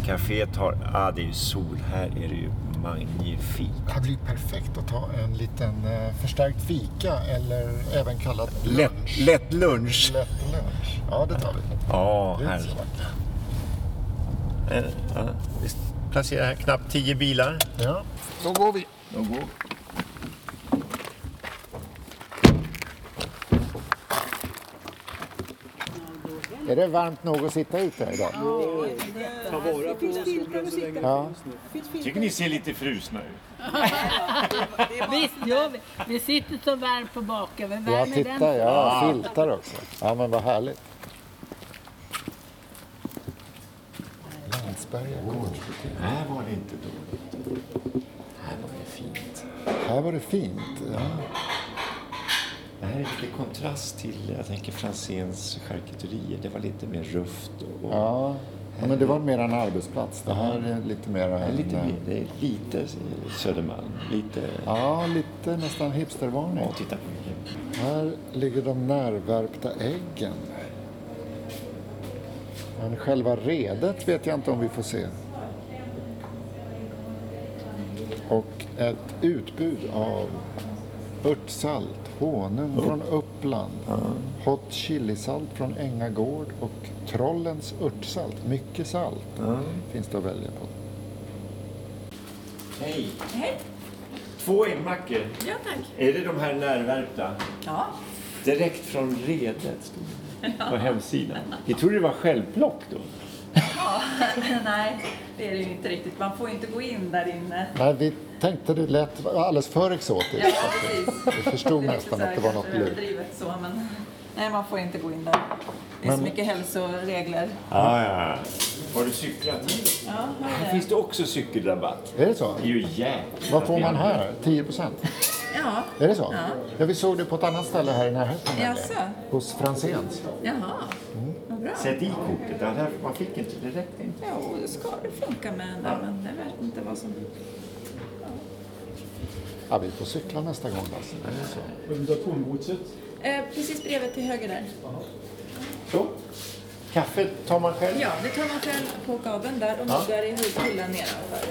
[SPEAKER 2] kaféet har... Ah, det är ju sol. Här är det ju magnifikt.
[SPEAKER 3] Det här blir perfekt att ta en liten eh, förstärkt fika eller även kallat
[SPEAKER 2] Lätt,
[SPEAKER 3] lunch.
[SPEAKER 2] lätt lunch.
[SPEAKER 3] Lätt lunch. Ja, det tar vi.
[SPEAKER 2] Ja,
[SPEAKER 3] Det är
[SPEAKER 2] här.
[SPEAKER 3] inte så vackert.
[SPEAKER 2] Eh, ja. Vi placerar här knappt tio bilar.
[SPEAKER 3] Ja.
[SPEAKER 1] Då går vi.
[SPEAKER 3] Är det varmt nog att sitta ute här idag?
[SPEAKER 2] Tycker ni ser lite frusna ut?
[SPEAKER 10] Visst gör vi. Vi sitter så varmt på baken. Vi
[SPEAKER 3] Ja,
[SPEAKER 10] värmer den.
[SPEAKER 3] titta, ja, filtar också. Ja, men vad härligt. Landsberga gårdsbutik.
[SPEAKER 2] Här var det inte dåligt. Här var det fint.
[SPEAKER 3] Här var det fint. Ja.
[SPEAKER 2] Det här är lite kontrast till, jag tänker, Franzéns charkuterier. Det var lite mer rufft och...
[SPEAKER 3] Ja. ja, men det var mer en arbetsplats. Det här är lite mer
[SPEAKER 2] Det är
[SPEAKER 3] en...
[SPEAKER 2] Lite, mer, det är lite Södermalm. Lite...
[SPEAKER 3] Ja, lite nästan hipstervarning.
[SPEAKER 2] Åh, titta på vilken...
[SPEAKER 3] Här ligger de närvärpta äggen. Men själva redet vet jag inte om vi får se. Och ett utbud av örtsalt, honung från Uppland, hot chilisalt från Ängagård och Trollens örtsalt, mycket salt, finns det att välja på.
[SPEAKER 2] Hej! Två äggmackor.
[SPEAKER 10] Ja, tack.
[SPEAKER 2] Är det de här närvärpta?
[SPEAKER 10] Ja. [laughs]
[SPEAKER 2] Direkt från redet, stod det på hemsidan. Vi trodde det var självplock då.
[SPEAKER 10] Nej, det är det ju inte riktigt. Man får ju inte gå in där inne.
[SPEAKER 3] Nej, vi tänkte det lät alldeles för exotiskt.
[SPEAKER 10] Ja, precis.
[SPEAKER 3] Vi förstod nästan
[SPEAKER 10] så här
[SPEAKER 3] att det var något
[SPEAKER 10] kanske
[SPEAKER 3] lurt.
[SPEAKER 10] överdrivet så, men nej, man får inte gå in där. Det är så mycket hälsoregler.
[SPEAKER 2] Ah, ja. Har du cyklat hit? Här finns det också cykelrabatt.
[SPEAKER 3] Är det så?
[SPEAKER 2] Det är ju jäkligt.
[SPEAKER 3] Vad får man här? 10 procent?
[SPEAKER 10] Ja,
[SPEAKER 3] Är det så? Ja. vi såg det på ett annat ställe här i närheten.
[SPEAKER 10] Jaså?
[SPEAKER 3] nämligen. Hos Franzéns.
[SPEAKER 10] jaha. Vad bra.
[SPEAKER 2] Sätt i kortet. Det här- Man fick inte, det räckte inte.
[SPEAKER 10] Jo, det ska det funka med den där, men jag vet inte vad som...
[SPEAKER 3] Ja, vi får cykla nästa gång. Lasse. Är det så?
[SPEAKER 10] Eh, precis bredvid till höger där.
[SPEAKER 2] Så. Kaffet tar man själv.
[SPEAKER 10] Ja, det tar man själv på kabeln där och muggar i hyllan nedanför.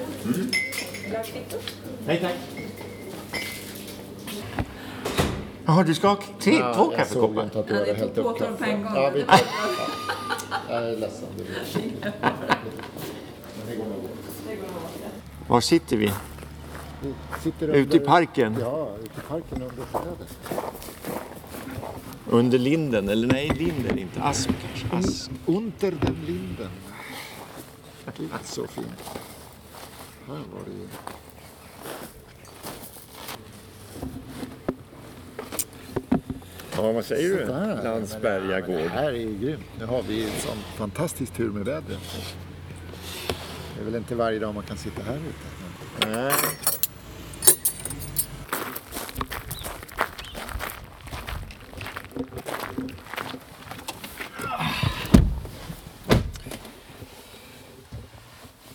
[SPEAKER 10] Lars Victor?
[SPEAKER 2] Nej tack. Jaha, du ska ha tre, två
[SPEAKER 3] jag såg ju
[SPEAKER 2] kaffekoppar?
[SPEAKER 3] inte att du
[SPEAKER 10] Ja, det
[SPEAKER 3] hade
[SPEAKER 10] tog
[SPEAKER 3] hällt
[SPEAKER 10] två
[SPEAKER 3] upp
[SPEAKER 10] tår på
[SPEAKER 3] kaffe.
[SPEAKER 10] en gång.
[SPEAKER 3] Ja, vi
[SPEAKER 10] Det var-
[SPEAKER 3] Jag är ledsen. Det blir-
[SPEAKER 2] Var sitter vi?
[SPEAKER 3] Vi sitter
[SPEAKER 2] Ute i
[SPEAKER 3] under-
[SPEAKER 2] parken?
[SPEAKER 3] Ja, ute i parken under trädet.
[SPEAKER 2] Under linden? Eller nej, linden inte. Asp kanske. Asp.
[SPEAKER 3] Unter den linden. Gud, så fint. Här var det ju...
[SPEAKER 2] Ja, vad säger du?
[SPEAKER 3] Sådär.
[SPEAKER 2] Landsberga gård.
[SPEAKER 3] Det här är ju grymt. Nu har vi en sån fantastisk tur med vädret. Det är väl inte varje dag man kan sitta här ute.
[SPEAKER 2] Nej.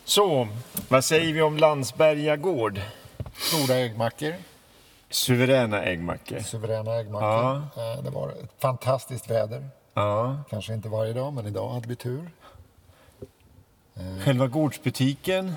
[SPEAKER 2] Så, vad säger vi om Landsberga gård?
[SPEAKER 3] Goda äggmackor.
[SPEAKER 2] Suveräna äggmackor.
[SPEAKER 3] Suveräna äggmackor. Eh, Det var ett fantastiskt väder.
[SPEAKER 2] Ja.
[SPEAKER 3] Kanske inte varje dag, men idag hade vi tur.
[SPEAKER 2] Själva gårdsbutiken,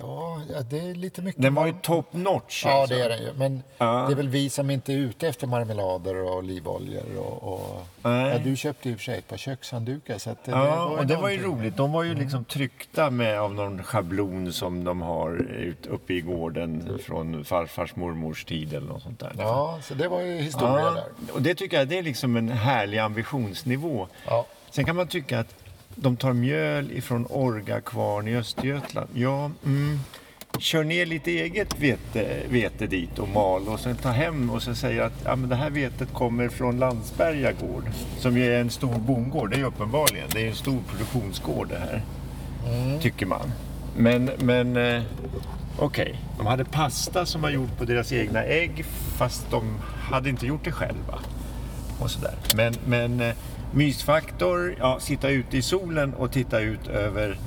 [SPEAKER 3] Ja, ja, det är lite mycket.
[SPEAKER 2] den var ju top notch.
[SPEAKER 3] Ja,
[SPEAKER 2] alltså.
[SPEAKER 3] det är den ju. Men det är väl vi som inte är ute efter marmelader och olivoljor. Och, och...
[SPEAKER 2] Nej.
[SPEAKER 3] Ja, du köpte i och för sig ett par kökshanddukar. Så att det,
[SPEAKER 2] Ja, och det var ju
[SPEAKER 3] någonting. Mm.
[SPEAKER 2] roligt. De var ju liksom tryckta med, av någon schablon som de har ut, uppe i gården från farfars mormors tid eller något sånt där.
[SPEAKER 3] Ja, så det var ju historia
[SPEAKER 2] Ja,
[SPEAKER 3] där.
[SPEAKER 2] och det tycker jag det är liksom en härlig ambitionsnivå.
[SPEAKER 3] Ja.
[SPEAKER 2] Sen kan man tycka att de tar mjöl ifrån Orgakvarn i Östergötland. Ja, mm. Kör ner lite eget vete, vete dit och mal och sen ta hem och sen säger att ja, men det här vetet kommer från Landsberga gård. Som ju är en stor bondgård, det är ju uppenbarligen. Det är ju en stor produktionsgård det här. Tycker man. Men, men eh, Okej, de hade pasta som var gjord på deras egna ägg fast de hade inte gjort det själva. Och sådär. Men, men eh, mysfaktor, ja, sitta ute i solen och titta ut över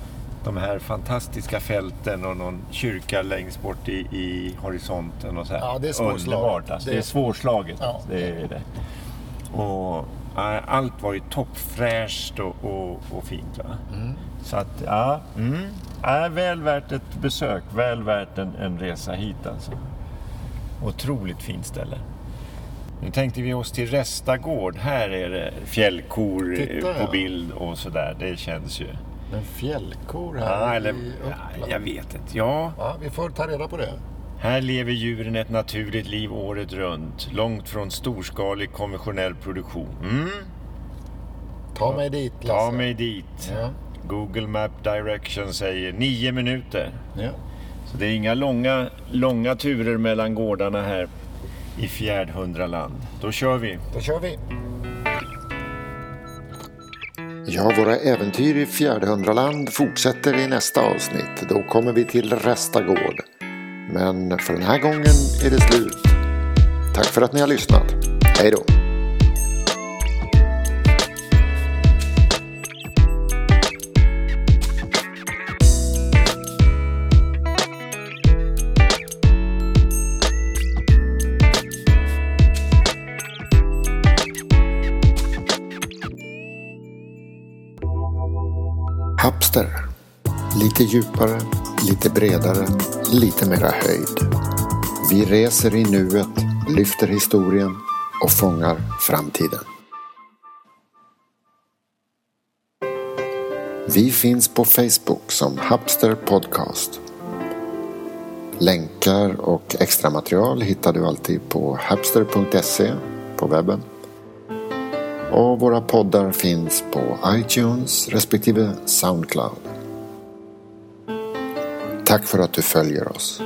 [SPEAKER 2] de här fantastiska fälten och någon kyrka längst bort i, i horisonten och så här.
[SPEAKER 3] Ja, det är svårslaget.
[SPEAKER 2] Underbart, alltså. Det är
[SPEAKER 3] Det-
[SPEAKER 2] svårslaget.
[SPEAKER 3] Ja.
[SPEAKER 2] Det är det. Och ja, allt var ju toppfräscht och, och, och fint. Va? Så att, ja, mm, är väl värt ett besök, väl värt en, en resa hit alltså. Otroligt fint ställe. Nu tänkte vi oss till Restagård. Här är det fjällkor eh,
[SPEAKER 3] Titta,
[SPEAKER 2] på
[SPEAKER 3] ja.
[SPEAKER 2] bild och sådär. Det känns ju...
[SPEAKER 3] Men fjällkor här
[SPEAKER 2] Ja, eller,
[SPEAKER 3] i
[SPEAKER 2] ja,
[SPEAKER 3] Uppland.
[SPEAKER 2] jag vet inte. Ja,
[SPEAKER 3] Ja, vi får ta reda på det.
[SPEAKER 2] här lever djuren ett naturligt liv året runt. Långt från storskalig konventionell produktion. Mm.
[SPEAKER 3] Ta mig dit Lasse.
[SPEAKER 2] Ta mig dit.
[SPEAKER 3] Ja.
[SPEAKER 2] Google Map Direction säger nio minuter.
[SPEAKER 3] Ja.
[SPEAKER 2] Så det är inga långa, långa turer mellan gårdarna här i Fjärdhundraland. Då kör vi.
[SPEAKER 3] Då kör vi.
[SPEAKER 1] Ja, våra äventyr i Fjärdhundraland fortsätter i nästa avsnitt. Då kommer vi till Restagård. Men för den här gången är det slut. Tack för att ni har lyssnat. Hej då! Hapster. Lite djupare, lite bredare, lite mera höjd. Vi reser i nuet, lyfter historien och fångar framtiden. Vi finns på Facebook som Hapster Podcast. Länkar och extra material hittar du alltid på hapster.se på webben. Och våra poddar finns på iTunes respektive Soundcloud. Tack för att du följer oss.